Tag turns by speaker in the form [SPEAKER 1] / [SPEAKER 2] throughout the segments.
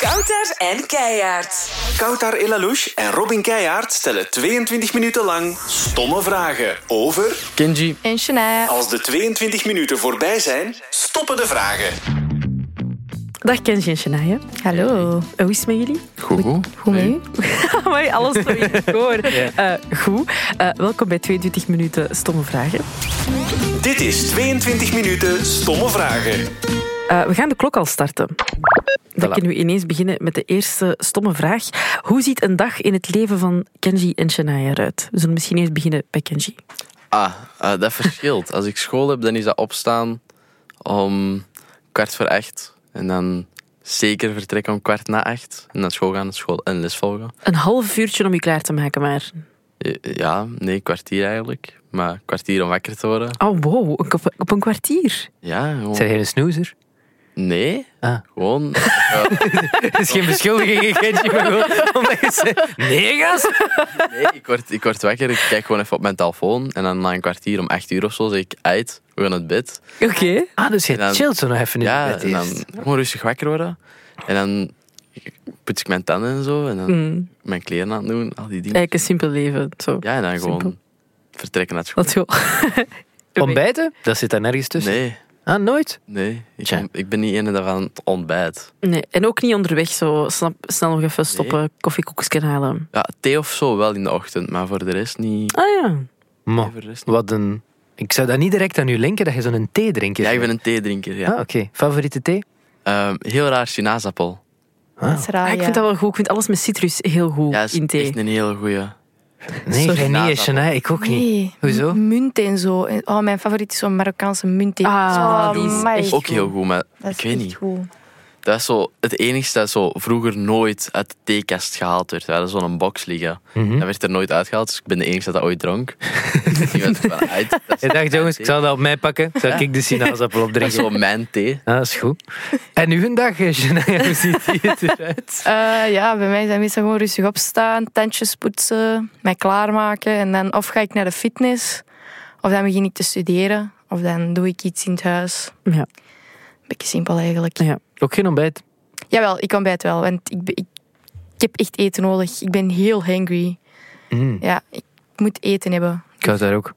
[SPEAKER 1] Kouter en Keijaard.
[SPEAKER 2] Koutar Elalouche en Robin Keijaard stellen 22 minuten lang stomme vragen over...
[SPEAKER 3] Kenji,
[SPEAKER 4] En Shania.
[SPEAKER 2] Als de 22 minuten voorbij zijn, stoppen de vragen.
[SPEAKER 5] Dag Kenji en Shania.
[SPEAKER 4] Hallo.
[SPEAKER 5] Hoe is het met jullie?
[SPEAKER 3] goed, goed.
[SPEAKER 4] Hoe met u?
[SPEAKER 5] Amai, alles zo in het koor. Eh, goed. Eh, welkom bij 22 minuten stomme vragen.
[SPEAKER 2] Dit is 22 minuten stomme vragen.
[SPEAKER 5] Eh, we gaan de klok al starten. Dan
[SPEAKER 3] Voilà.
[SPEAKER 5] kunnen we ineens beginnen met de eerste stomme vraag. Hoe ziet een dag in het leven van Kenji en Shania eruit? We zullen misschien eerst beginnen bij Kenji.
[SPEAKER 3] Ah, eh, dat verschilt. Als ik school heb, dan is dat opstaan om kwart voor acht. En dan zeker vertrekken om kwart na acht. En dan school gaan, school en les volgen.
[SPEAKER 5] Een half uurtje om je klaar te maken, maar...
[SPEAKER 3] Eh, Ja, nee, kwartier eigenlijk. Maar kwartier om wakker te worden.
[SPEAKER 5] Oh, wow, een kop- op een kwartier.
[SPEAKER 3] Ja, gewoon...
[SPEAKER 6] Zijn jij een snoezer?
[SPEAKER 3] Nee,
[SPEAKER 6] Ah.
[SPEAKER 3] gewoon... Ja,
[SPEAKER 6] Het is geen beschuldiging, Gentje, maar gewoon omdat je zegt... Nee, gast!
[SPEAKER 3] nee, ik word, ik word wakker, ik kijk gewoon even op mijn telefoon. En dan na een kwartier, om acht uur of zo, zeg ik... Uit, we gaan het bed.
[SPEAKER 5] Oké.
[SPEAKER 6] Ah, dus
[SPEAKER 3] En dan-
[SPEAKER 6] je chillt zo nog even in
[SPEAKER 3] Ja,
[SPEAKER 6] het
[SPEAKER 3] en
[SPEAKER 6] bed
[SPEAKER 3] dan
[SPEAKER 6] eerst.
[SPEAKER 3] gewoon rustig wakker worden. En dan poets ik mijn tanden en zo. En dan mijn kleren aan het doen, al die dingen.
[SPEAKER 5] Eigenlijk een simpel leven. Zo.
[SPEAKER 3] Ja, en dan gewoon
[SPEAKER 5] simpel.
[SPEAKER 3] vertrekken naar school.
[SPEAKER 5] Dat is wel-
[SPEAKER 6] Ontbijten? Dat zit daar nergens tussen.
[SPEAKER 3] Nee,
[SPEAKER 6] Ah, nooit?
[SPEAKER 3] nee. Ik,
[SPEAKER 6] Tja.
[SPEAKER 3] ik ben niet ene dat van het ontbijt.
[SPEAKER 5] Nee, en ook niet onderweg zo snap, snel nog even stoppen,
[SPEAKER 3] Nee.
[SPEAKER 5] koffiekoekjes halen.
[SPEAKER 3] Ja, thee of zo wel in de ochtend, maar voor de rest niet.
[SPEAKER 5] Ah ja.
[SPEAKER 6] Maar,
[SPEAKER 3] Voor de rest niet.
[SPEAKER 6] wat een... Ik zou dat niet direct aan u linken, dat je zo'n thee drinkt.
[SPEAKER 3] Ja, ik ben een theedrinker, ja.
[SPEAKER 6] Ah, oké. Favoriete thee?
[SPEAKER 3] Ehm, heel raar sinaasappel.
[SPEAKER 4] Dat is raar,
[SPEAKER 5] Ah, ik vind
[SPEAKER 4] ja.
[SPEAKER 5] dat wel goed. Ik vind alles met citrus heel goed
[SPEAKER 3] Ja, is
[SPEAKER 5] in thee.
[SPEAKER 3] echt een hele goeie.
[SPEAKER 6] Nee,
[SPEAKER 5] Sorry.
[SPEAKER 6] jij niet,
[SPEAKER 3] Nadappel.
[SPEAKER 6] Shania. Ik ook niet.
[SPEAKER 4] Nee.
[SPEAKER 6] Hoezo?
[SPEAKER 4] M- Munt en zo. En- Oh, mijn favoriet is zo'n Marokkaanse munt. oh,
[SPEAKER 5] Ah, die is echt
[SPEAKER 3] Ook heel goed, maar ik weet niet. Dat is zo het enigste dat zo vroeger nooit uit de theekast gehaald werd. We hadden zo'n box liggen.
[SPEAKER 6] Mhm.
[SPEAKER 3] Dat werd er nooit uitgehaald, dus ik ben de enige dat dat ooit dronk. Die werd er van uit. Dat is
[SPEAKER 6] Ik dacht, jongens, ik zal dat op mij pakken. Zal ik de sinaasappel
[SPEAKER 3] dat
[SPEAKER 6] opdrinken?
[SPEAKER 3] is zo mijn thee.
[SPEAKER 6] Ah, dat is goed. En uw dag, eh, Shania, hoe ziet die eruit?
[SPEAKER 4] Eh, ja, bij mij is dat meestal gewoon rustig opstaan, tandjes poetsen, mij klaarmaken. En dan of ga ik naar de fitness, of dan begin ik te studeren, of dan doe ik iets in het huis.
[SPEAKER 5] Ja.
[SPEAKER 4] Beetje simpel eigenlijk.
[SPEAKER 5] Ja.
[SPEAKER 6] Ook geen ontbijt.
[SPEAKER 4] Jawel, ik ontbijt wel, want ik, be- ik, ik heb echt eten nodig. Ik ben heel hangry.
[SPEAKER 6] Mm,
[SPEAKER 4] Ja, ik moet eten hebben.
[SPEAKER 6] ik had daar ook.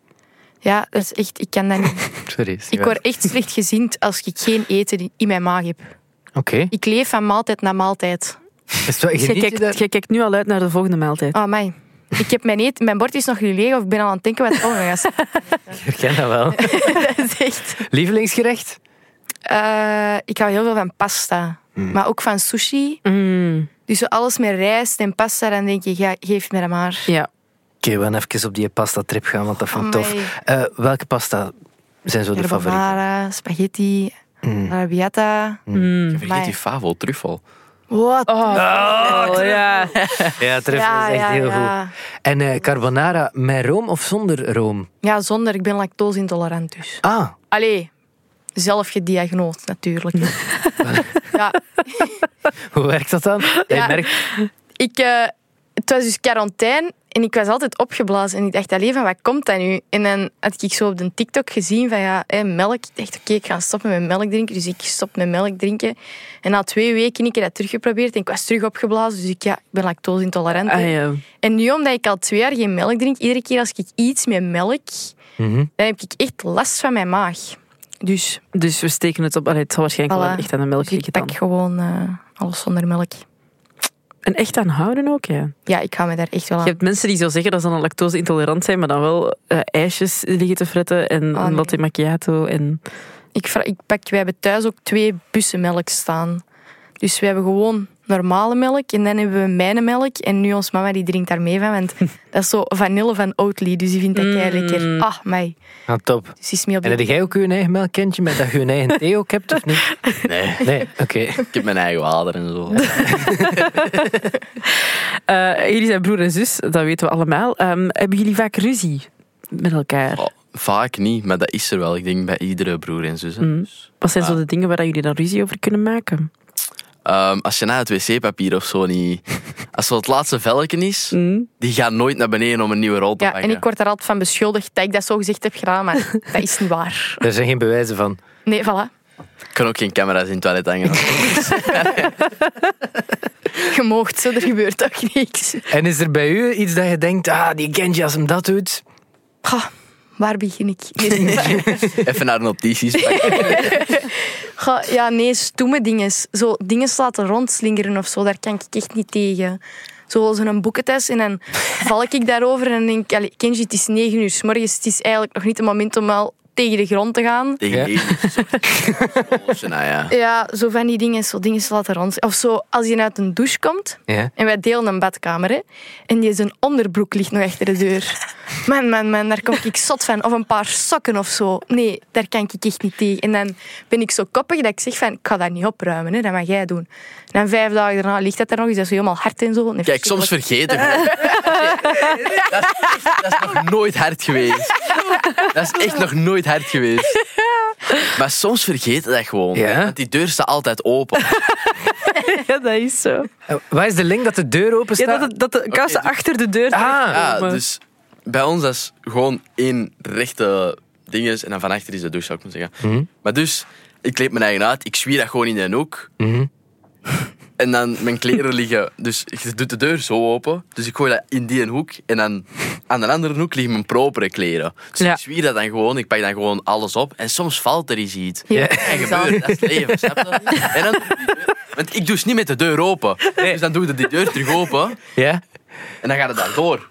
[SPEAKER 4] Ja, dat is echt, ik kan dat niet.
[SPEAKER 6] Sorry. is niet
[SPEAKER 4] Ik
[SPEAKER 6] waar.
[SPEAKER 4] word echt slecht gezind als ik geen eten in mijn maag heb.
[SPEAKER 6] Oké.
[SPEAKER 4] Ik leef van maaltijd naar maaltijd.
[SPEAKER 6] Is het wel-
[SPEAKER 5] Dus jij
[SPEAKER 6] geniet je
[SPEAKER 5] kijkt,
[SPEAKER 6] daar?
[SPEAKER 5] jij kijkt nu al uit naar de volgende maaltijd.
[SPEAKER 4] Oh, mij. Ik heb mijn, eten, mijn bord is nog niet leeg of ik ben al aan het denken wat het allemaal is.
[SPEAKER 6] Ik herken dat wel.
[SPEAKER 4] Dat is echt...
[SPEAKER 6] Lievelingsgerecht?
[SPEAKER 4] Eh, ik hou heel veel van pasta.
[SPEAKER 6] Hmm.
[SPEAKER 4] Maar ook van sushi.
[SPEAKER 3] Ah.
[SPEAKER 5] Mm,
[SPEAKER 4] Dus zo alles met rijst en pasta, dan denk je, ja, geef me dat maar.
[SPEAKER 5] ja.
[SPEAKER 6] Oké, we gaan even op die pasta-trip gaan, want dat vond ik tof.
[SPEAKER 4] Amai.
[SPEAKER 6] Eh, welke pasta zijn zo de favorieten?
[SPEAKER 4] Carbonara, spaghetti,
[SPEAKER 6] Mm.
[SPEAKER 4] arabiata.
[SPEAKER 5] Mm.
[SPEAKER 6] Hmm.
[SPEAKER 3] Je vergeet
[SPEAKER 4] Amai.
[SPEAKER 3] die favo, truffel.
[SPEAKER 4] Wat?
[SPEAKER 5] Oh, ja.
[SPEAKER 6] Ja, truffel is echt heel goed. En eh, carbonara met room of zonder room?
[SPEAKER 4] Ja, zonder. Ik ben lactose-intolerant dus.
[SPEAKER 6] Ah,
[SPEAKER 4] Allee, zelf gediagnoosd natuurlijk. ja,
[SPEAKER 6] hoe werkt dat dan? Je
[SPEAKER 4] Ja.
[SPEAKER 6] merkt,
[SPEAKER 4] ik, eh, het was dus quarantaine en ik was altijd opgeblazen. En ik dacht alleen van, wat komt dat nu? En dan had ik zo op de TikTok gezien van, ja, hè, melk. Ik dacht, oké, ik ga stoppen met melk drinken. Dus ik stop met melk drinken. En na twee weken ik heb dat teruggeprobeerd en ik was terug opgeblazen. Dus ik, ja, ik ben lactose intolerant.
[SPEAKER 5] Ah, ja.
[SPEAKER 4] En nu, omdat ik al twee jaar geen melk drink, iedere keer als ik iets met melk,
[SPEAKER 6] Mhm.
[SPEAKER 4] dan heb ik echt last van mijn maag. Dus,
[SPEAKER 5] Dus we steken het op. Allee, het zal waarschijnlijk wel
[SPEAKER 4] Voilà.
[SPEAKER 5] echt aan de melk
[SPEAKER 4] dus ik
[SPEAKER 5] liggen dan.
[SPEAKER 4] pak gewoon eh, alles zonder melk.
[SPEAKER 5] En echt aan houden ook, ja.
[SPEAKER 4] Ja, ik ga me daar echt wel aan.
[SPEAKER 5] Je hebt mensen die zo zeggen dat ze dan lactose intolerant zijn, maar dan wel eh, ijsjes liggen te fretten en
[SPEAKER 4] Ah,
[SPEAKER 5] een
[SPEAKER 4] nee.
[SPEAKER 5] latte macchiato. En...
[SPEAKER 4] Ik, vra- ik pak, wij hebben thuis ook twee bussen melk staan. Dus we hebben gewoon normale melk en dan hebben we mijn melk. En nu ons mama die drinkt daar mee van, want dat is zo vanille van Oatly. Dus die vindt dat kei
[SPEAKER 5] Mm.
[SPEAKER 4] lekker. Ah, mij.
[SPEAKER 6] ah, top.
[SPEAKER 4] Dus die is mee op
[SPEAKER 6] En heb
[SPEAKER 4] de...
[SPEAKER 6] jij ook je eigen melkkentje met dat je je eigen thee ook hebt, of niet?
[SPEAKER 3] Nee,
[SPEAKER 6] Nee, oké.
[SPEAKER 3] ik heb mijn eigen water en zo.
[SPEAKER 5] Eh, jullie zijn broer en zus, dat weten we allemaal. Ehm, hebben jullie vaak ruzie met elkaar?
[SPEAKER 3] Oh, vaak niet, maar dat is er wel. Ik denk bij iedere broer en zus. hè.
[SPEAKER 5] Mm.
[SPEAKER 3] Dus,
[SPEAKER 5] Wat zijn zo
[SPEAKER 3] Ah.
[SPEAKER 5] de dingen waar jullie dan ruzie over kunnen maken?
[SPEAKER 3] ehm, als je na het wc-papier of zo niet... Als zo het laatste velkje is, die gaan nooit naar beneden om een nieuwe rol te
[SPEAKER 4] Mm. Ja,
[SPEAKER 3] pakken.
[SPEAKER 4] en ik word daar altijd van beschuldigd dat ik dat zo gezegd heb gedaan, maar dat is niet waar.
[SPEAKER 6] Daar zijn geen bewijzen van.
[SPEAKER 4] Nee, voilà.
[SPEAKER 3] Ik kan ook geen camera's in het toilet hangen.
[SPEAKER 4] Je moogt zo, er gebeurt toch niks.
[SPEAKER 6] En is er bij u iets dat je denkt, ah, die Kenji als hem dat doet...
[SPEAKER 4] Goh, waar begin ik? Nee, nee.
[SPEAKER 3] Even naar de notities pakken.
[SPEAKER 4] Goh, ja, nee, stoeme dingen. Zo dingen laten rondslingeren of zo, daar kan ik echt niet tegen. Zoals een boekentest en dan val ik daarover en denk ik, allee, Kenji, het is negen uur s morgens, het is eigenlijk nog niet het moment om al tegen de grond te gaan.
[SPEAKER 3] Tegen
[SPEAKER 6] Ja.
[SPEAKER 3] die. Nou ja.
[SPEAKER 4] Ja, zo van die dingen, zo dingen laten rond. Of zo, als je uit een douche komt
[SPEAKER 6] Ja.
[SPEAKER 4] en wij delen een badkamer, hè, en die zijn onderbroek ligt nog achter de deur. Man, man, man, daar kom ik zot van. Of een paar sokken of zo. Nee, daar kan ik echt niet tegen. En dan ben ik zo koppig dat ik zeg van, ik ga dat niet opruimen, hè, dat mag jij doen. En dan vijf dagen daarna ligt dat er nog eens, dat is zo helemaal hard en zo. Nee,
[SPEAKER 3] Kijk, soms
[SPEAKER 4] verschrikkelijk.
[SPEAKER 3] vergeten we. dat, is echt- dat is nog nooit hard geweest. Dat is echt nog nooit hard geweest. Maar soms vergeet je dat gewoon.
[SPEAKER 6] Ja?
[SPEAKER 3] Want die deur staat altijd open.
[SPEAKER 5] Ja, dat is zo.
[SPEAKER 6] Eh, Waar is de link dat de deur open
[SPEAKER 5] Ja,
[SPEAKER 6] staat?
[SPEAKER 5] dat, het- dat de kousen
[SPEAKER 3] doe-
[SPEAKER 5] achter de deur
[SPEAKER 6] Ah.
[SPEAKER 3] Ja,
[SPEAKER 5] komen.
[SPEAKER 3] dus bij ons dat is gewoon één rechte ding is. En dan van achter is de douche, zou ik moeten zeggen. Maar dus, ik kleed mijn eigen uit. Ik zwier dat gewoon in een hoek. En dan mijn kleren liggen. Dus je doet de deur zo open. Dus ik gooi dat in die hoek. En dan aan de andere hoek liggen mijn propere kleren. Dus
[SPEAKER 5] Ja.
[SPEAKER 3] ik zwier dat dan gewoon. Ik pak dan gewoon alles op. En soms valt er iets. iets.
[SPEAKER 4] Ja,
[SPEAKER 3] En gebeurt, dat is het leven, snap je? En dan, want ik doe dus niet met de deur open. Dus dan doe je die deur terug open.
[SPEAKER 6] Ja?
[SPEAKER 3] En dan gaat het daar door.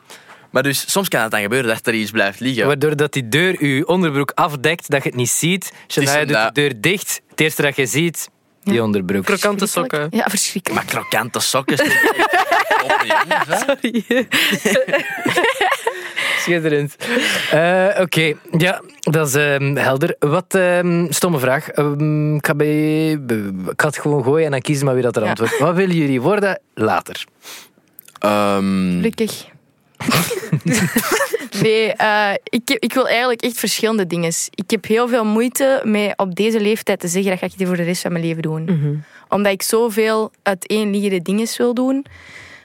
[SPEAKER 3] Maar dus soms kan het dan gebeuren dat er iets blijft liggen.
[SPEAKER 6] Waardoor dat die deur uw onderbroek afdekt, dat je het niet ziet. Shania
[SPEAKER 3] een
[SPEAKER 6] doet de
[SPEAKER 3] da-
[SPEAKER 6] deur dicht. Het eerste dat je ziet, die onderbroek.
[SPEAKER 5] Krokante sokken.
[SPEAKER 4] Ja, verschrikkelijk.
[SPEAKER 3] Maar krokante sokken. steken echt op, jongens, hè.
[SPEAKER 6] Schitterend. Eh, Oké, ja, dat is ehm, helder. Wat, ehm, stomme vraag. Ehm, ik, ga bij, ik ga het gewoon gooien en dan kiezen maar wie dat er
[SPEAKER 4] Ja.
[SPEAKER 6] antwoordt. Wat willen jullie worden later?
[SPEAKER 3] Ehm,
[SPEAKER 4] Gelukkig. nee, eh, ik, heb- ik wil eigenlijk echt verschillende dingen. Ik heb heel veel moeite met op deze leeftijd te zeggen dat ga ik dit voor de rest van mijn leven doen.
[SPEAKER 5] Mhm.
[SPEAKER 4] Omdat ik zoveel uiteenliggende dingen wil doen.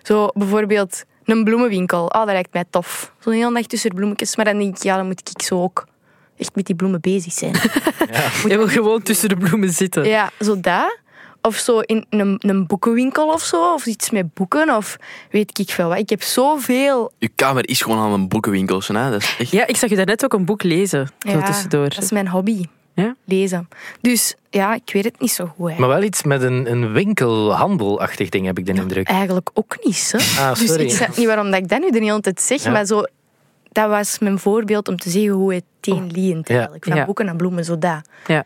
[SPEAKER 4] Zo bijvoorbeeld een bloemenwinkel. Oh, dat lijkt mij tof. Zo'n hele nacht tussen bloemetjes. Maar dan denk ik, ja, dan moet ik zo ook echt met die bloemen bezig zijn.
[SPEAKER 5] Je wil gewoon tussen de bloemen zitten.
[SPEAKER 4] Ja, zo dat. Of zo in een, een boekenwinkel of zo. Of iets met boeken. Of weet ik veel wat. Ik heb zoveel
[SPEAKER 3] uw kamer is gewoon aan een boekenwinkel. Hè? Dat is echt...
[SPEAKER 5] Ja, ik zag je daarnet ook een boek lezen. Zo
[SPEAKER 4] Ja,
[SPEAKER 5] tussendoor.
[SPEAKER 4] Dat is mijn hobby.
[SPEAKER 5] Ja?
[SPEAKER 4] Lezen. Dus ja, ik weet het niet zo goed. hè.
[SPEAKER 6] Maar wel iets met een, een winkelhandelachtig ding, heb ik de indruk.
[SPEAKER 4] Eigenlijk ook niet. Hè.
[SPEAKER 6] Ah,
[SPEAKER 4] Dus
[SPEAKER 6] sorry.
[SPEAKER 4] ik snap niet waarom dat ik dat nu de hele tijd zeg.
[SPEAKER 6] Ja.
[SPEAKER 4] Maar zo, dat was mijn voorbeeld om te zeggen hoe het teenliënt
[SPEAKER 6] Ja.
[SPEAKER 4] eigenlijk. Van
[SPEAKER 5] Ja.
[SPEAKER 4] boeken naar bloemen, zo dat.
[SPEAKER 5] Ja.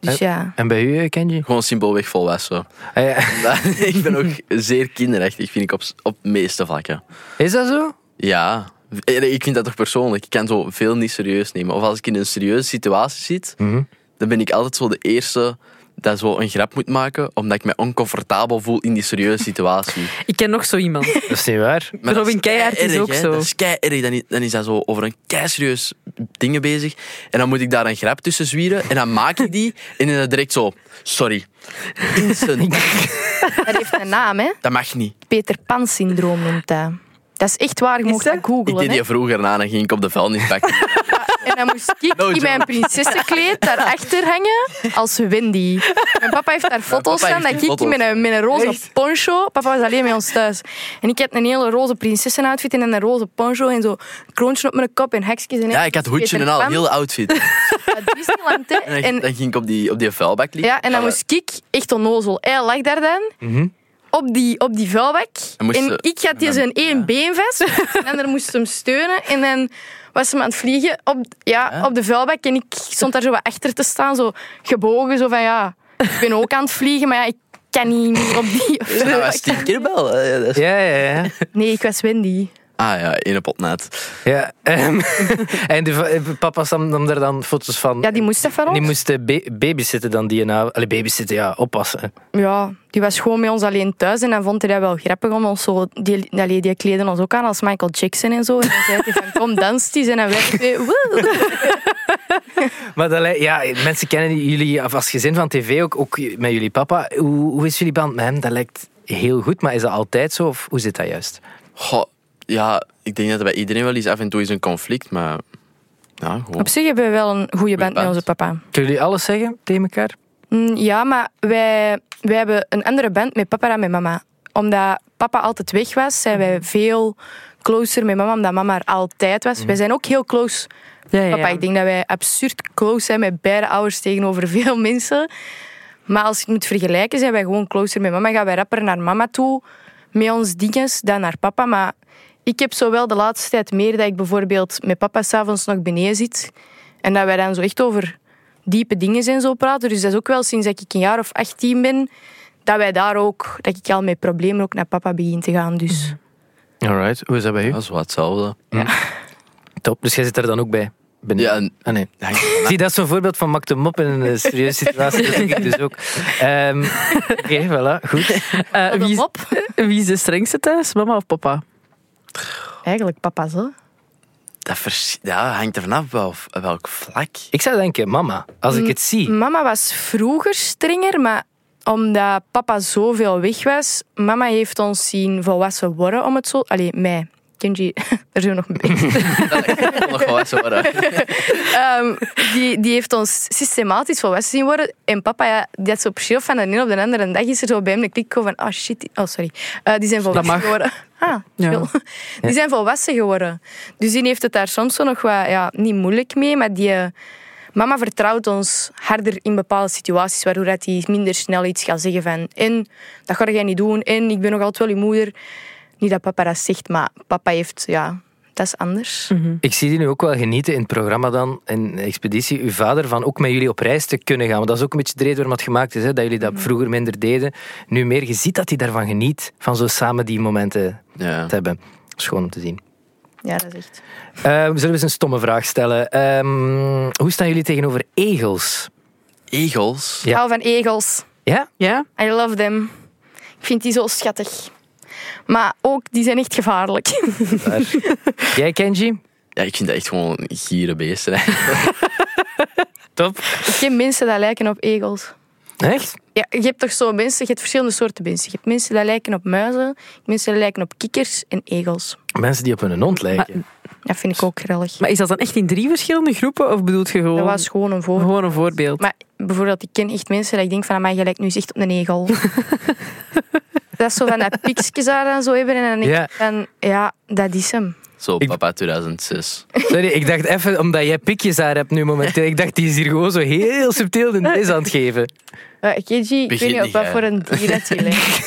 [SPEAKER 4] Dus ja.
[SPEAKER 6] En bij u, eh, Kenji?
[SPEAKER 3] Gewoon simpelweg volwassen.
[SPEAKER 6] Ah, ja.
[SPEAKER 3] ik ben ook zeer kinderachtig, vind ik, op, s- op de meeste vlakken.
[SPEAKER 6] Is dat zo?
[SPEAKER 3] Ja. Eh, Ik vind dat toch persoonlijk. Ik kan zo veel niet serieus nemen. Of als ik in een serieuze situatie zit, dan ben ik altijd zo de eerste dat zo een grap moet maken, omdat ik me oncomfortabel voel in die serieuze situatie.
[SPEAKER 5] Ik ken nog zo iemand.
[SPEAKER 6] Dat is niet waar.
[SPEAKER 3] Maar dat
[SPEAKER 5] Robin Keijaard is
[SPEAKER 3] kei-erg,
[SPEAKER 5] ook
[SPEAKER 3] hè.
[SPEAKER 5] zo.
[SPEAKER 3] Dat is kei-erg. Dan, i- dan is dat zo over een kei-serieus dingen bezig. En dan moet ik daar een grap tussen zwieren. En dan maak ik die. En dan direct zo... Sorry. Instant.
[SPEAKER 4] Dat heeft een naam, hè.
[SPEAKER 3] Dat mag niet.
[SPEAKER 4] Peter Pan-syndroom noemt dat. Dat is echt waar, je mocht dat
[SPEAKER 3] Ik
[SPEAKER 4] googlen.
[SPEAKER 3] deed
[SPEAKER 4] hè.
[SPEAKER 3] die vroeger na. Dan ging ik op de vuilnisbak.
[SPEAKER 4] En dan moest ik
[SPEAKER 3] No
[SPEAKER 4] in mijn prinsessenkleed daarachter hangen als Wendy. Mijn papa heeft daar foto's
[SPEAKER 3] papa
[SPEAKER 4] van dat
[SPEAKER 3] heeft
[SPEAKER 4] ik
[SPEAKER 3] die
[SPEAKER 4] in
[SPEAKER 3] foto's.
[SPEAKER 4] mijn, mijn roze poncho... Papa was alleen bij ons thuis. En ik had een hele roze prinsessenoutfit en een roze poncho en zo kroontje op mijn kop en hekjes en...
[SPEAKER 3] Ja, ik had hoedje en al. Heel outfit.
[SPEAKER 4] Disneyland, hè.
[SPEAKER 3] En dan,
[SPEAKER 4] En,
[SPEAKER 3] dan ging ik op die, op die vuilbak liggen.
[SPEAKER 4] ja, en dan moest ik, echt onnozel, hij lag daar dan... Op die, op die vuilbak.
[SPEAKER 3] Mhm. En moest
[SPEAKER 4] En
[SPEAKER 3] ze-
[SPEAKER 4] ik had die
[SPEAKER 3] en dan-
[SPEAKER 4] zijn één been vast. En dan moest ze hem steunen. En dan was ze hem aan het vliegen op, ja, op de vuilbak. En ik stond daar zo wat achter te staan. Zo gebogen. Zo van ja, ik ben ook aan het vliegen. Maar ja, ik kan niet meer op die
[SPEAKER 3] Dat
[SPEAKER 4] vuilbak.
[SPEAKER 3] was tien keer wel. Eh, ja, dat is-
[SPEAKER 6] Ja, ja, ja.
[SPEAKER 4] Nee, ik was Wendy.
[SPEAKER 3] Ah ja, één pot naad.
[SPEAKER 6] ja. ehm, en de, va- eh, papa nam nam daar dan foto's van.
[SPEAKER 4] Ja, die moest dat van
[SPEAKER 6] En
[SPEAKER 4] ons.
[SPEAKER 6] die moesten ba- babysitten dan die na. Allee, babysitten, ja, oppassen.
[SPEAKER 4] Ja, die was gewoon met ons alleen thuis. En dan vond hij dat wel grappig. Om ons zo, die, allee, die kleden ons ook aan als Michael Jackson en zo. En dan zei hij van kom, dans die. En dan wij twee, woe.
[SPEAKER 6] Maar dat, lij- ja, mensen kennen jullie af- als gezin van tv ook, ook met jullie papa. Hoe, hoe is jullie band met hem? Dat lijkt heel goed, maar is dat altijd zo of hoe zit dat juist?
[SPEAKER 3] Goh, ja, ik denk dat er bij iedereen wel eens af en toe is een conflict, maar... Ja, gewoon.
[SPEAKER 4] Op zich hebben we wel een goede band met
[SPEAKER 3] band.
[SPEAKER 4] onze papa.
[SPEAKER 6] Kunnen jullie alles zeggen tegen elkaar?
[SPEAKER 4] Mm, Ja, maar wij, wij hebben een andere band met papa en met mama. omdat papa altijd weg was, zijn wij veel closer met mama, omdat mama er altijd was. Wij zijn ook heel close
[SPEAKER 5] Ja, ja,
[SPEAKER 4] Papa,
[SPEAKER 5] ja.
[SPEAKER 4] ik denk dat wij absurd close zijn met beide ouders tegenover veel mensen. Maar als je het moet vergelijken, zijn wij gewoon closer met mama. Gaan wij rapper naar mama toe met ons dinges dan naar papa. Maar ik heb zowel de laatste tijd meer dat ik bijvoorbeeld met papa s'avonds nog beneden zit. En dat wij dan zo echt over diepe dingen en zo praten. Dus dat is ook wel sinds dat ik een jaar of 18 ben, dat wij daar ook, dat ik al met problemen ook naar papa begin te gaan. Dus
[SPEAKER 6] Alright, hoe is dat bij u?
[SPEAKER 3] Dat is wat hetzelfde.
[SPEAKER 6] Top, dus jij zit er dan ook bij? Ben
[SPEAKER 3] Ja, en-
[SPEAKER 6] Ah nee.
[SPEAKER 3] Ja, ik-
[SPEAKER 6] Zie, dat is zo'n voorbeeld van mak de mop in een eh, serieuze situatie. Dat denk ik dus ook. Ehm, Oké, voilà, goed.
[SPEAKER 5] Eh,
[SPEAKER 4] Wat een
[SPEAKER 5] wie, is,
[SPEAKER 4] mop.
[SPEAKER 5] wie is de strengste thuis, mama of papa?
[SPEAKER 4] eigenlijk papa zo.
[SPEAKER 3] dat vers- ja, hangt er vanaf wel, welk vlak.
[SPEAKER 6] Ik zou denken, mama, als
[SPEAKER 4] Mm,
[SPEAKER 6] ik het zie.
[SPEAKER 4] Mama was vroeger strenger, maar omdat papa zoveel weg was, mama heeft ons zien volwassen worden, om het zo... Allee, mij. Kenji, daar zijn we nog mee.
[SPEAKER 3] Nog wel zo worden.
[SPEAKER 4] Ehm, die, die heeft ons systematisch volwassen zien worden. En papa, ja, die had zo op chill van de een op de andere dag is er zo bij hem een klik van... Oh, shit. die- Oh, sorry. Eh, die zijn volwassen
[SPEAKER 5] mag.
[SPEAKER 4] geworden. Ah,
[SPEAKER 5] Ja.
[SPEAKER 4] chill. Die zijn volwassen geworden. Dus die heeft het daar soms zo nog wat... Ja, niet moeilijk mee, maar die... eh, Mama vertrouwt ons harder in bepaalde situaties, waardoor dat hij minder snel iets gaat zeggen van en dat ga jij niet doen, en ik ben nog altijd wel je moeder. Niet dat papa dat zegt, maar papa heeft, ja, dat is anders.
[SPEAKER 5] Hm.
[SPEAKER 6] Ik zie die nu ook wel genieten in het programma dan, in Expeditie, uw vader, van ook met jullie op reis te kunnen gaan. Want dat is ook een beetje de reden waarom het gemaakt is, hè, dat jullie dat vroeger minder deden. Nu meer, je ziet dat hij daarvan geniet, van zo samen die momenten
[SPEAKER 3] Ja.
[SPEAKER 6] te hebben. Schoon om te zien.
[SPEAKER 4] Ja, dat is echt...
[SPEAKER 6] Eh, zullen we eens een stomme vraag stellen? Ehm, hoe staan jullie tegenover egels?
[SPEAKER 3] Egels.
[SPEAKER 6] Ja.
[SPEAKER 4] Ik hou van egels.
[SPEAKER 6] Ja?
[SPEAKER 5] Ja?
[SPEAKER 4] I love them. Ik vind die zo schattig. Maar ook, die zijn echt gevaarlijk.
[SPEAKER 6] Jij, Kenji?
[SPEAKER 3] Ja, ik vind dat echt gewoon gieren beesten. hè.
[SPEAKER 6] Top.
[SPEAKER 4] Ik ken mensen dat lijken op egels.
[SPEAKER 6] Echt?
[SPEAKER 4] Ja, je hebt toch zo mensen, je hebt verschillende soorten mensen. Je hebt mensen dat lijken op muizen, mensen die lijken op kikkers en egels.
[SPEAKER 6] Mensen die op hun hond lijken.
[SPEAKER 4] Dat vind ik ook grillig.
[SPEAKER 5] Maar is dat dan echt in drie verschillende groepen? Of bedoelt je gewoon,
[SPEAKER 4] Dat was gewoon een voorbeeld.
[SPEAKER 5] gewoon een voorbeeld?
[SPEAKER 4] Maar bijvoorbeeld, ik ken echt mensen dat ik denk van, mij je lijkt nu eens echt op een egel. dat is zo van dat piekjes daar dan zo hebben. En dan denk ik van, ja, dat is hem.
[SPEAKER 3] Zo,
[SPEAKER 6] Ik-
[SPEAKER 3] papa 2006.
[SPEAKER 6] Sorry, ik dacht even, omdat jij pikjes haar hebt nu momenteel, ik dacht, die is hier gewoon zo heel subtiel de neus aan het geven.
[SPEAKER 4] Uh, Keiji,
[SPEAKER 3] Begin
[SPEAKER 4] ik weet niet op
[SPEAKER 3] niet,
[SPEAKER 4] wat
[SPEAKER 3] hè.
[SPEAKER 4] voor een dier dat je lijkt.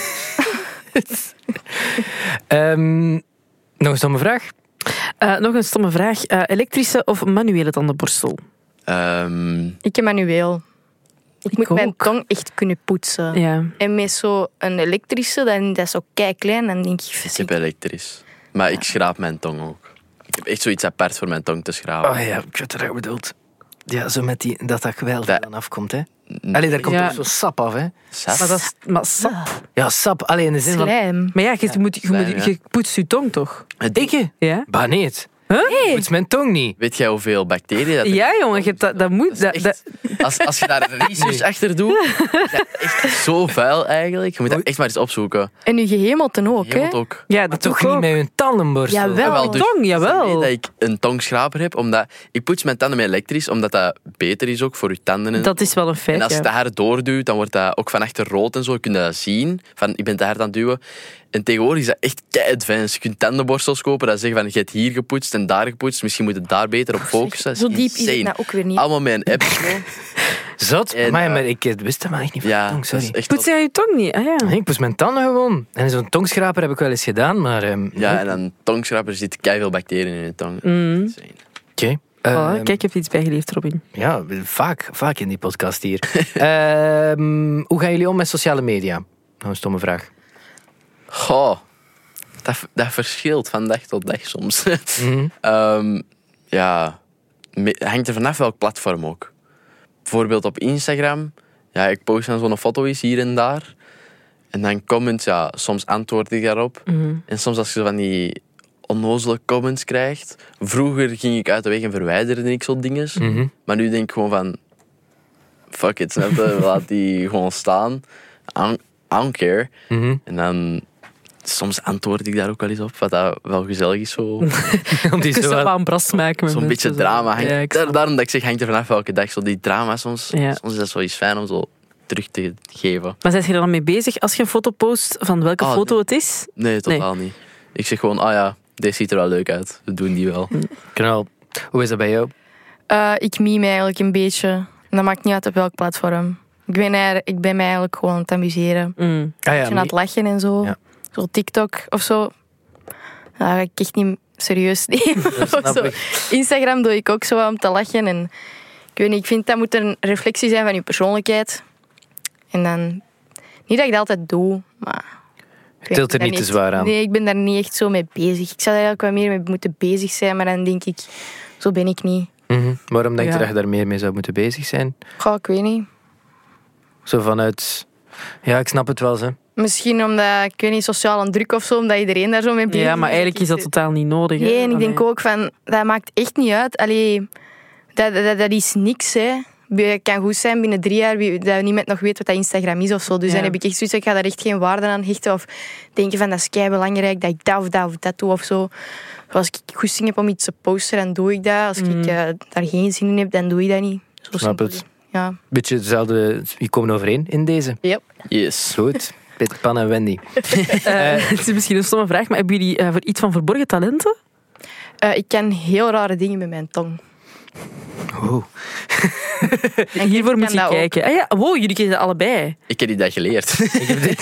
[SPEAKER 6] Ehm, nog een stomme vraag.
[SPEAKER 5] Eh, nog een stomme vraag. Eh, elektrische of manuele tandenborstel?
[SPEAKER 3] Ehm,
[SPEAKER 4] Ik heb manueel. Ik, moet mijn
[SPEAKER 5] ook.
[SPEAKER 4] tong echt kunnen poetsen.
[SPEAKER 5] Ja.
[SPEAKER 4] En met zo'n elektrische, dan, dat is zo klein. Dan denk ik,
[SPEAKER 3] ik
[SPEAKER 4] verziek.
[SPEAKER 3] heb elektrisch. Maar ik schraap mijn tong ook. Ik heb echt zoiets apart voor mijn tong te schrapen.
[SPEAKER 6] Oh ja, ik weet wat je bedoelt. Ja, zo met die, dat dat geweld
[SPEAKER 3] Dat- Mm.
[SPEAKER 6] dan afkomt, hè. Allee, daar komt
[SPEAKER 5] Ja.
[SPEAKER 6] ook zo sap af, hè.
[SPEAKER 3] Sap?
[SPEAKER 5] Maar dat is... Maar, sap.
[SPEAKER 6] Ja, sap. Allee, in de zin van...
[SPEAKER 4] slijm.
[SPEAKER 5] maar ja, je, moet, je,
[SPEAKER 3] Slijm,
[SPEAKER 5] moet,
[SPEAKER 3] ja.
[SPEAKER 5] je poetst je tong toch?
[SPEAKER 3] Het ding-
[SPEAKER 6] Ik? je?
[SPEAKER 5] Ja?
[SPEAKER 6] Bah, nee. het.
[SPEAKER 5] Huh?
[SPEAKER 6] Poets mijn tong niet.
[SPEAKER 3] Weet jij hoeveel bacteriën dat er
[SPEAKER 5] Ja, jongen, je hebt dat, dat moet.
[SPEAKER 3] Dat
[SPEAKER 5] Dat,
[SPEAKER 3] is
[SPEAKER 5] dat-
[SPEAKER 3] echt- als, als je daar research achter doet, is dat echt zo vuil eigenlijk. Je moet dat echt maar eens opzoeken.
[SPEAKER 4] En je gehemelte ook,
[SPEAKER 3] Je
[SPEAKER 4] hè?
[SPEAKER 3] moet ook.
[SPEAKER 5] ja,
[SPEAKER 6] Maar
[SPEAKER 5] dat
[SPEAKER 6] toch
[SPEAKER 5] toch
[SPEAKER 6] niet
[SPEAKER 5] ook.
[SPEAKER 6] met hun tandenborstel.
[SPEAKER 4] Jawel.
[SPEAKER 3] Jawel, dus
[SPEAKER 5] Tong,
[SPEAKER 3] Nee,
[SPEAKER 5] jawel.
[SPEAKER 3] dat ik een tongschraper heb, omdat ik poets mijn tanden met elektrisch, omdat dat beter is ook voor je tanden. en-
[SPEAKER 5] Dat is wel een feit,
[SPEAKER 3] en als je
[SPEAKER 5] ja.
[SPEAKER 3] te hard doorduwt, dan wordt dat ook van achter rood en zo. Kun je dat zien, van ik ben te hard aan het duwen. En tegenwoordig is dat echt kei advanced. Je kunt tandenborstels kopen dat zeggen van je hebt hier gepoetst en daar gepoetst. Misschien moet je daar beter op focussen. Dat
[SPEAKER 4] Zo diep is
[SPEAKER 3] insane.
[SPEAKER 4] het nou ook weer niet.
[SPEAKER 3] Allemaal met een app. zo.
[SPEAKER 6] Zot?
[SPEAKER 3] En,
[SPEAKER 6] Amai,
[SPEAKER 3] eh,
[SPEAKER 6] maar ik eh, wist dat maar echt niet van
[SPEAKER 3] Ja,
[SPEAKER 6] mijn tong,
[SPEAKER 3] dat
[SPEAKER 6] sorry.
[SPEAKER 3] is echt
[SPEAKER 5] Poets jij je tong niet? Ah, ja.
[SPEAKER 6] Nee, ik poets mijn tanden gewoon. En zo'n tongschraper heb ik wel eens gedaan, maar... ehm,
[SPEAKER 3] Ja, en dan tongschrapper zit keihard bacteriën in je tong.
[SPEAKER 4] Mm.
[SPEAKER 3] Insane.
[SPEAKER 6] Oké.
[SPEAKER 5] Oh,
[SPEAKER 6] Ehm,
[SPEAKER 5] kijk, ik heb iets bijgeleerd, Robin.
[SPEAKER 6] Ja, vaak, vaak in die podcast hier. Ehm, hoe gaan jullie om met sociale media? Nou, een stomme vraag.
[SPEAKER 3] Goh, dat, dat verschilt van dag tot dag soms. Ehm, ja, me- hangt er vanaf welk platform ook. Bijvoorbeeld op Instagram. Ja, ik post dan zo'n foto eens hier en daar. En dan comments, ja, soms antwoord ik daarop. En soms als je zo van die onnozele comments krijgt. Vroeger ging ik uit de weg en verwijderde ik zo'n dinges. Maar nu denk ik gewoon van... Fuck it, snap je? Laat die gewoon staan. I don't- I don't care. En dan... Soms antwoord ik daar ook wel eens op, wat dat wel gezellig is. zo.
[SPEAKER 6] Om die
[SPEAKER 5] Ik
[SPEAKER 6] zo
[SPEAKER 5] zou
[SPEAKER 6] wel-
[SPEAKER 5] wel een bras maken met
[SPEAKER 3] Zo'n
[SPEAKER 5] mensen,
[SPEAKER 3] beetje
[SPEAKER 5] zo.
[SPEAKER 3] drama.
[SPEAKER 5] Ja,
[SPEAKER 3] Hangt,
[SPEAKER 5] ik snap
[SPEAKER 3] daar- daarom dat ik zeg, hangt er vanaf welke dag. Zo die drama soms.
[SPEAKER 5] Ja.
[SPEAKER 3] Soms is dat zoiets fijn om zo terug te geven.
[SPEAKER 5] Maar zijn je er dan mee bezig als je een foto post van welke
[SPEAKER 3] Ah,
[SPEAKER 5] foto
[SPEAKER 3] nee.
[SPEAKER 5] het is?
[SPEAKER 3] Nee, totaal niet. Ik zeg gewoon, ah ja, deze ziet er wel leuk uit. We doen die wel.
[SPEAKER 6] Knal. Hoe is dat bij jou?
[SPEAKER 4] Eh, ik meme eigenlijk een beetje. En dat maakt niet uit op welk platform. Ik ben, er, ik ben mij eigenlijk gewoon aan het amuseren.
[SPEAKER 5] Mm.
[SPEAKER 6] Ah
[SPEAKER 4] Ik ben aan het lachen en zo.
[SPEAKER 6] Ja.
[SPEAKER 4] Zo TikTok of zo. Dat ga ik echt niet serieus nemen. Of zo. Instagram doe ik ook zo wat om te lachen. En ik weet niet, ik vind dat moet een reflectie zijn van je persoonlijkheid. En dan... Niet dat ik dat altijd doe, maar... ik weet
[SPEAKER 6] tilt er
[SPEAKER 4] daar
[SPEAKER 6] niet te zwaar aan.
[SPEAKER 4] Nee, ik ben daar niet echt zo mee bezig. Ik zou daar eigenlijk wat meer mee moeten bezig zijn, maar dan denk ik... Zo ben ik niet.
[SPEAKER 6] Mhm. Waarom denk je
[SPEAKER 5] Ja.
[SPEAKER 6] dat je daar meer mee zou moeten bezig zijn?
[SPEAKER 4] Goh, ik weet niet.
[SPEAKER 6] Zo vanuit... Ja, ik snap het wel, hè.
[SPEAKER 4] Misschien omdat, ik weet niet, sociaal een druk of zo, omdat iedereen daar zo mee bezig is.
[SPEAKER 5] Ja, maar eigenlijk is dat totaal niet nodig. hè?
[SPEAKER 4] Nee, en ik denk
[SPEAKER 5] Allee.
[SPEAKER 4] ook van, dat maakt echt niet uit. Allee, dat, dat, dat is niks, hè. Je kan goed zijn binnen drie jaar, wie- dat niemand nog weet wat dat Instagram is of zo. Dus
[SPEAKER 5] Ja.
[SPEAKER 4] dan heb ik echt zoiets, ik ga daar echt geen waarde aan hechten. Of denken van, dat is kei belangrijk dat ik dat of dat of dat doe of zo. Als ik goesting heb om iets te posten, dan doe ik dat. Als
[SPEAKER 5] Mm.
[SPEAKER 4] ik eh, daar geen zin in heb, dan doe ik dat niet. Zo
[SPEAKER 6] Snap
[SPEAKER 4] simpel.
[SPEAKER 6] het.
[SPEAKER 4] Ja.
[SPEAKER 6] Beetje hetzelfde... Je komen overeen in deze.
[SPEAKER 4] Yep.
[SPEAKER 3] Yes.
[SPEAKER 6] Goed. Peter Pan en Wendy.
[SPEAKER 5] Eh, het is misschien een stomme vraag, maar hebben jullie eh, voor iets van verborgen talenten?
[SPEAKER 4] Eh, ik kan heel rare dingen met mijn tong.
[SPEAKER 6] Oh.
[SPEAKER 5] En hiervoor moet
[SPEAKER 4] kan
[SPEAKER 5] je
[SPEAKER 4] dat ook.
[SPEAKER 5] kijken. Ah, ja. Wow, jullie kennen allebei.
[SPEAKER 3] Ik heb die dat geleerd.
[SPEAKER 6] Ik heb dit-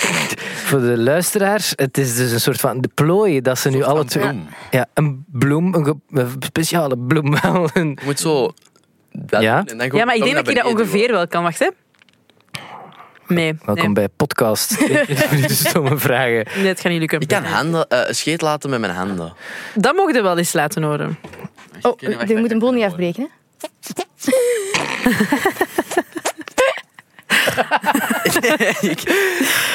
[SPEAKER 6] voor de luisteraars, het is dus een soort van de plooi dat ze nu alle
[SPEAKER 3] van
[SPEAKER 6] twee...
[SPEAKER 3] bloem.
[SPEAKER 6] Ja, een bloem, een, ge- een speciale bloem. wel, een-
[SPEAKER 3] Je moet zo... dat
[SPEAKER 6] Ja?
[SPEAKER 3] doen en dan gewoon
[SPEAKER 5] ja, maar ik
[SPEAKER 3] tong
[SPEAKER 5] denk dat je
[SPEAKER 3] naar
[SPEAKER 5] dat
[SPEAKER 3] beneden
[SPEAKER 5] ongeveer wel kan. Wacht, hè. Nee.
[SPEAKER 6] Welkom bij podcast. de stomme vragen.
[SPEAKER 5] nee. Dit gaan jullie
[SPEAKER 3] doen. Ik
[SPEAKER 5] kunnen.
[SPEAKER 3] kan handen, eh, een scheet laten met mijn handen.
[SPEAKER 5] Dat mogen we wel eens laten horen.
[SPEAKER 4] Oh,
[SPEAKER 3] Kunnen we echt
[SPEAKER 4] je moet een boel
[SPEAKER 3] kunnen
[SPEAKER 4] niet
[SPEAKER 3] horen.
[SPEAKER 4] afbreken, hè.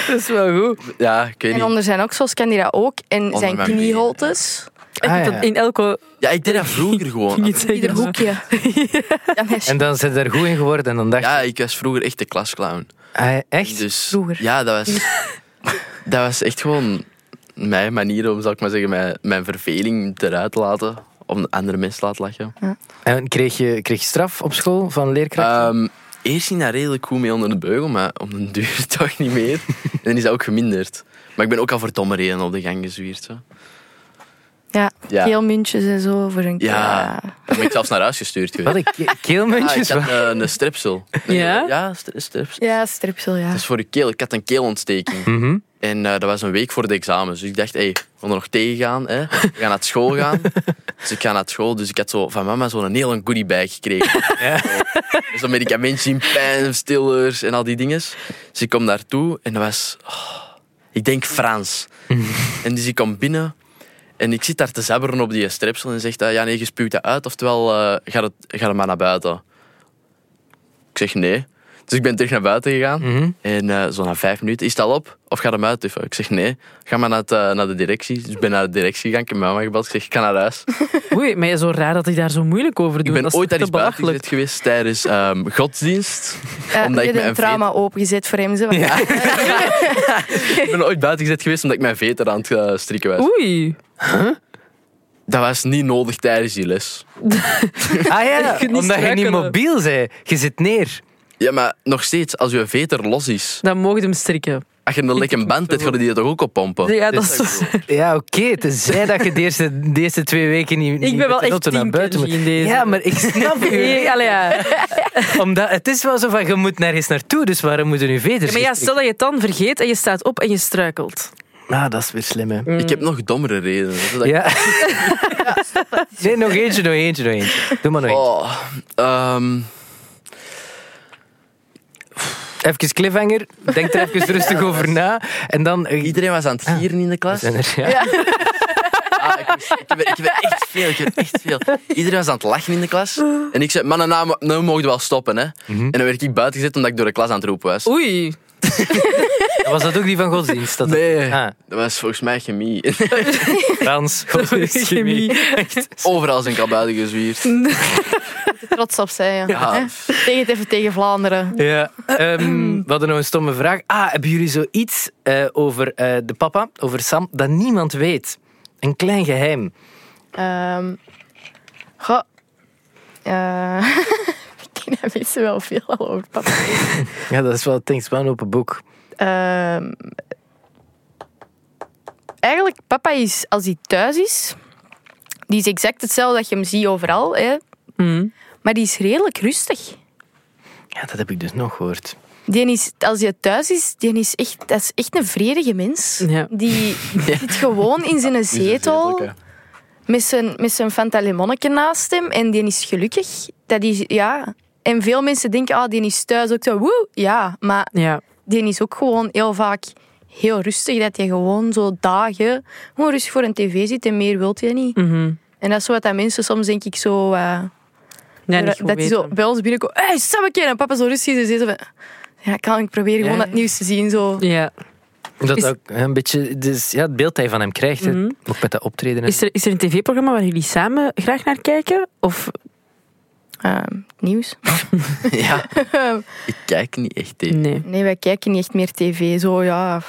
[SPEAKER 5] Dat is wel goed.
[SPEAKER 3] Ja, ik weet
[SPEAKER 4] En
[SPEAKER 3] niet.
[SPEAKER 4] onder zijn oksels kan die dat ook. En
[SPEAKER 3] Onder
[SPEAKER 4] zijn
[SPEAKER 3] mijn benen,
[SPEAKER 4] knieholtes.
[SPEAKER 6] Ah, ja.
[SPEAKER 5] In elke...
[SPEAKER 3] Ja, ik deed dat vroeger gewoon.
[SPEAKER 5] Niet
[SPEAKER 4] Ieder hoekje. Ja, meisje.
[SPEAKER 6] En dan zijn ze er goed in geworden en dan dacht
[SPEAKER 3] Ja, ik was vroeger echt de klasclown.
[SPEAKER 6] Ah, echt?
[SPEAKER 3] Dus,
[SPEAKER 4] Vroeger.
[SPEAKER 3] Ja, dat was, dat was echt gewoon mijn manier om, zal ik maar zeggen, mijn, mijn verveling eruit te laten. Om de andere mensen te laten lachen.
[SPEAKER 6] En kreeg je, kreeg je straf op school van leerkrachten?
[SPEAKER 3] Ehm, eerst ging dat redelijk goed mee onder de beugel, maar om den duur toch niet meer. En dan is dat ook geminderd. Maar ik ben ook al voor domme redenen op de gang gezwierd. Zo.
[SPEAKER 4] Ja,
[SPEAKER 3] Ja.
[SPEAKER 4] keelmuntjes en zo voor een
[SPEAKER 3] Ja.
[SPEAKER 4] keer.
[SPEAKER 3] Dan ben ik zelfs naar huis gestuurd geweest.
[SPEAKER 6] Wat, ik ke-
[SPEAKER 3] Ah, ik
[SPEAKER 6] keelmuntjes?
[SPEAKER 3] had eh, een strepsel.
[SPEAKER 5] Ja?
[SPEAKER 3] Ja, stre- streps-
[SPEAKER 4] Ja, stripsel, ja.
[SPEAKER 3] Dat is voor de keel. Ik had een keelontsteking.
[SPEAKER 6] Mhm.
[SPEAKER 3] En eh, dat was een week voor de examens. Dus ik dacht, hé, hey, we gaan er nog tegen gaan. Hè? We gaan naar school gaan. Dus ik ga naar school. Dus ik had zo van mama zo'n hele goodiebag gekregen.
[SPEAKER 6] Ja.
[SPEAKER 3] Zo- Zo'n medicamentje in pijnstillers en al die dingen. Dus ik kom daartoe en dat was... oh, ik denk Frans. En dus ik kom binnen en ik zit daar te zabberen op die strepsel. En zegt, hij, ja nee, je spuwt dat uit. Oftewel, eh ga, het, ga er maar naar buiten. Ik zeg nee. Dus ik ben terug naar buiten gegaan.
[SPEAKER 6] Mhm.
[SPEAKER 3] En eh, zo na vijf minuten, is het al op? Of ga hem uittuffen? Ik zeg nee, ga maar naar, het, eh, naar de directie. Dus ik ben naar de directie gegaan, ik heb mijn mama gebeld. Ik zeg, ik ga naar huis.
[SPEAKER 5] Oei, maar zo raar dat ik daar zo moeilijk over doe.
[SPEAKER 3] Ik ben
[SPEAKER 5] dat is
[SPEAKER 3] ooit daar
[SPEAKER 5] te
[SPEAKER 3] eens buiten
[SPEAKER 5] belachelijk.
[SPEAKER 3] gezet geweest tijdens ehm, godsdienst.
[SPEAKER 4] Ja,
[SPEAKER 3] omdat
[SPEAKER 4] je
[SPEAKER 3] ik met
[SPEAKER 4] hebt een
[SPEAKER 3] een veter,
[SPEAKER 4] trauma opengezet voor hem. Zo. want-
[SPEAKER 3] ik ben ooit buiten gezet geweest omdat ik mijn veter aan het eh, strikken was.
[SPEAKER 5] Oei.
[SPEAKER 3] Dat was niet nodig tijdens die les.
[SPEAKER 6] Ah ja,
[SPEAKER 5] kunt niet
[SPEAKER 6] omdat je niet
[SPEAKER 5] struikelen.
[SPEAKER 6] mobiel bent. Je zit neer.
[SPEAKER 3] Ja, maar nog steeds, als je veter los is,
[SPEAKER 5] Dan mogen we hem strikken.
[SPEAKER 3] als je een lekker band hebt, ga je die toch Oh, ook oppompen?
[SPEAKER 5] Ja, dat is zo...
[SPEAKER 6] Ja, oké. Tenzij dat je de eerste, de eerste twee weken niet,
[SPEAKER 5] ben
[SPEAKER 6] niet met
[SPEAKER 5] wel
[SPEAKER 6] de
[SPEAKER 5] echt
[SPEAKER 6] noten
[SPEAKER 5] team Kenji in deze.
[SPEAKER 6] Ja, maar ik snap je.
[SPEAKER 5] Ja, allee, ja.
[SPEAKER 6] Omdat het is wel zo van, je moet nergens naartoe, dus waarom moeten nu veters
[SPEAKER 5] Ja, maar ja, stel dat je het dan vergeet en je staat op en je struikelt.
[SPEAKER 6] Nou, dat is weer slim, hè.
[SPEAKER 3] Ik heb nog dommere redenen. zodat ik-
[SPEAKER 6] Ja. nee, nog eentje, nog eentje, nog eentje. Doe maar nog eentje.
[SPEAKER 3] Oh, ehm,
[SPEAKER 6] Even cliffhanger, denk er even rustig over na. En dan... eh,
[SPEAKER 3] iedereen was aan
[SPEAKER 5] Ah.
[SPEAKER 3] het gieren in de klas.
[SPEAKER 6] zijn er- ja.
[SPEAKER 3] Ah, ik, wist- ik, heb, er- ik heb er echt veel, ik heb er echt veel. Iedereen was aan het lachen in de klas. En ik zei, mannen, nou, mo- nou mogen we wel stoppen. Hè.
[SPEAKER 4] Mhm.
[SPEAKER 3] En dan werd ik buiten gezet omdat ik door de klas aan het roepen was.
[SPEAKER 5] Oei.
[SPEAKER 6] Was dat ook die van godsdienst? Dat
[SPEAKER 3] Nee.
[SPEAKER 6] Ah,
[SPEAKER 3] Dat was volgens mij chemie.
[SPEAKER 6] Frans, godsdienst, chemie.
[SPEAKER 3] Overal zijn ik al buiten gezwierd.
[SPEAKER 4] Trots op zijn, ja.
[SPEAKER 3] Ja.
[SPEAKER 4] Hè? Tegen het even tegen Vlaanderen.
[SPEAKER 6] Ja. ehm, we hadden nog een stomme vraag. Ah, hebben jullie zoiets eh, over eh, de papa, over Sam, dat niemand weet? Een klein geheim.
[SPEAKER 4] Ehm goh. Eh, misschien weten wel veel al over papa.
[SPEAKER 6] Ja, dat is wel Things One open boek.
[SPEAKER 4] Ehm, eigenlijk, papa is, als hij thuis is, die is exact hetzelfde dat je hem ziet overal. Hè.
[SPEAKER 5] Mm.
[SPEAKER 4] Maar die is redelijk rustig.
[SPEAKER 6] Ja, dat heb ik dus nog gehoord.
[SPEAKER 4] Die is, als hij thuis is, die is echt, dat is echt een vredige mens.
[SPEAKER 5] Ja.
[SPEAKER 4] Die zit gewoon in zijn zetel met zijn, met zijn Fanta Limonneke naast hem. En die is gelukkig. Dat is, ja. En veel mensen denken, ah, die is thuis ook zo, woe. Ja, maar
[SPEAKER 5] Ja.
[SPEAKER 4] die is ook gewoon heel vaak heel rustig. Dat je gewoon zo dagen gewoon rustig voor een tv zit en meer wilt je niet.
[SPEAKER 5] mhm.
[SPEAKER 4] En dat is wat dat mensen soms denk ik zo... eh,
[SPEAKER 5] Ja, niet
[SPEAKER 4] dat
[SPEAKER 5] goed
[SPEAKER 4] dat die
[SPEAKER 5] weten.
[SPEAKER 4] zo bij ons binnenkomen. Hé, hey, Sammeke! En papa zo rustig is. en ze zo van, ja, kan ik proberen gewoon
[SPEAKER 5] Ja,
[SPEAKER 4] dat nieuws te zien. Zo.
[SPEAKER 5] Ja.
[SPEAKER 6] Dat
[SPEAKER 5] Is-
[SPEAKER 6] ook een beetje, dus, ja, het beeld dat je van hem krijgt, hè. ook met dat optreden. en-
[SPEAKER 5] Is, er, is er een tv-programma waar jullie samen graag naar kijken? Of
[SPEAKER 4] Ehm, nieuws.
[SPEAKER 3] Ja. Ik kijk niet echt tegen.
[SPEAKER 5] nee?
[SPEAKER 4] Nee, wij kijken niet echt meer tv. Zo, ja.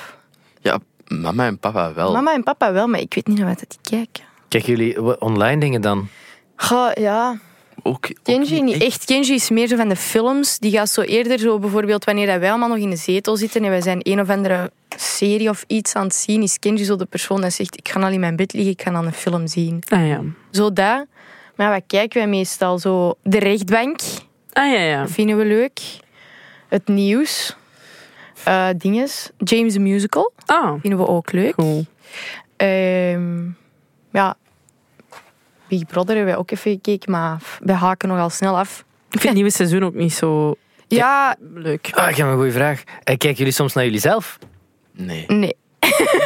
[SPEAKER 3] Ja, mama en papa wel.
[SPEAKER 4] Mama en papa wel, maar ik weet niet naar wat dat die kijken.
[SPEAKER 6] Kijken jullie wa- online dingen dan?
[SPEAKER 4] Goh, ja.
[SPEAKER 3] Ook, ook
[SPEAKER 4] Kenji niet echt. Kenji is meer zo van de films. Die gaat zo eerder zo bijvoorbeeld wanneer dat wij allemaal nog in de zetel zitten en wij zijn een of andere serie of iets aan het zien, is Kenji zo de persoon dat zegt ik ga al in mijn bed liggen, ik ga dan een film zien.
[SPEAKER 5] Ah ja.
[SPEAKER 4] Zo dat. Maar wat kijken wij meestal? Zo de rechtbank
[SPEAKER 5] Ah ja, ja.
[SPEAKER 4] vinden we leuk. Het nieuws. Eh dinges. James the Musical
[SPEAKER 5] Ah,
[SPEAKER 4] vinden we ook leuk.
[SPEAKER 5] cool.
[SPEAKER 4] Ehm, ja, Big Brother hebben wij ook even gekeken, maar we haken nogal snel af.
[SPEAKER 5] Ik vind het nieuwe seizoen ook niet zo
[SPEAKER 4] Ja,
[SPEAKER 5] leuk.
[SPEAKER 6] Ah, ik heb een goede vraag. Eh, Kijken jullie soms naar jullie zelf?
[SPEAKER 3] Nee.
[SPEAKER 4] nee.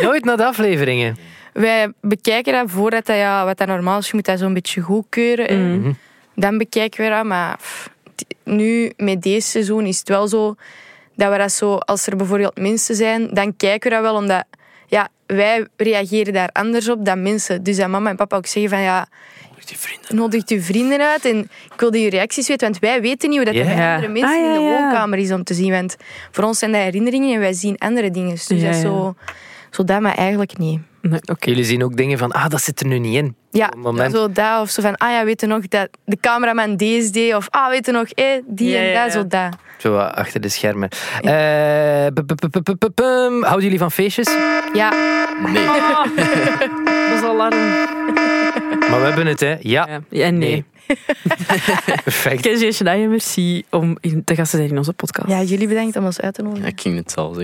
[SPEAKER 6] Nooit naar de afleveringen.
[SPEAKER 4] Wij bekijken dat voordat dat, ja, wat dat normaal is. Je moet dat zo'n beetje goedkeuren. en Dan bekijken we dat. Maar pff, t- nu, met deze seizoen, is het wel zo dat we dat zo... Als er bijvoorbeeld mensen zijn, dan kijken we dat wel. Omdat ja, wij reageren daar anders op dan mensen. Dus dat mama en papa ook zeggen van... Ja,
[SPEAKER 3] Die vrienden.
[SPEAKER 4] nodigt uw vrienden uit en ik wil die reacties weten, want wij weten niet hoe dat er
[SPEAKER 6] Ja.
[SPEAKER 4] bij andere mensen
[SPEAKER 5] Ah, ja,
[SPEAKER 4] in de
[SPEAKER 5] ja.
[SPEAKER 4] woonkamer is om te zien. Want voor ons zijn dat herinneringen en wij zien andere dingen. Dus
[SPEAKER 5] Ja,
[SPEAKER 4] dat is
[SPEAKER 5] ja.
[SPEAKER 4] zo, zo dat, maar eigenlijk niet.
[SPEAKER 5] Nee, oké.
[SPEAKER 6] Jullie zien ook dingen van, ah, dat zit er nu niet in.
[SPEAKER 4] Ja,
[SPEAKER 6] Op het moment-
[SPEAKER 4] zo dat of zo van, ah ja, weet je nog dat de cameraman deze deed of ah, weet je nog, eh, die
[SPEAKER 5] Ja,
[SPEAKER 4] en
[SPEAKER 5] ja,
[SPEAKER 4] dat,
[SPEAKER 5] ja.
[SPEAKER 4] zo dat.
[SPEAKER 6] Zo wat achter de schermen. Eh, pu- pu- pu- pu- pu- pu- pum. Houden jullie van feestjes?
[SPEAKER 4] Ja,
[SPEAKER 3] Nee.
[SPEAKER 4] Oh. Ah.
[SPEAKER 5] Dat is alarm.
[SPEAKER 6] Maar we hebben het, hè? Ja.
[SPEAKER 5] Ja, ja nee.
[SPEAKER 6] Nee. Perfect.
[SPEAKER 5] Kenzie en Shania, merci om in- te gasten te zijn in onze podcast.
[SPEAKER 4] ja jullie bedankt om ons uit te nodigen.
[SPEAKER 3] Ja, ik ging het al zeggen.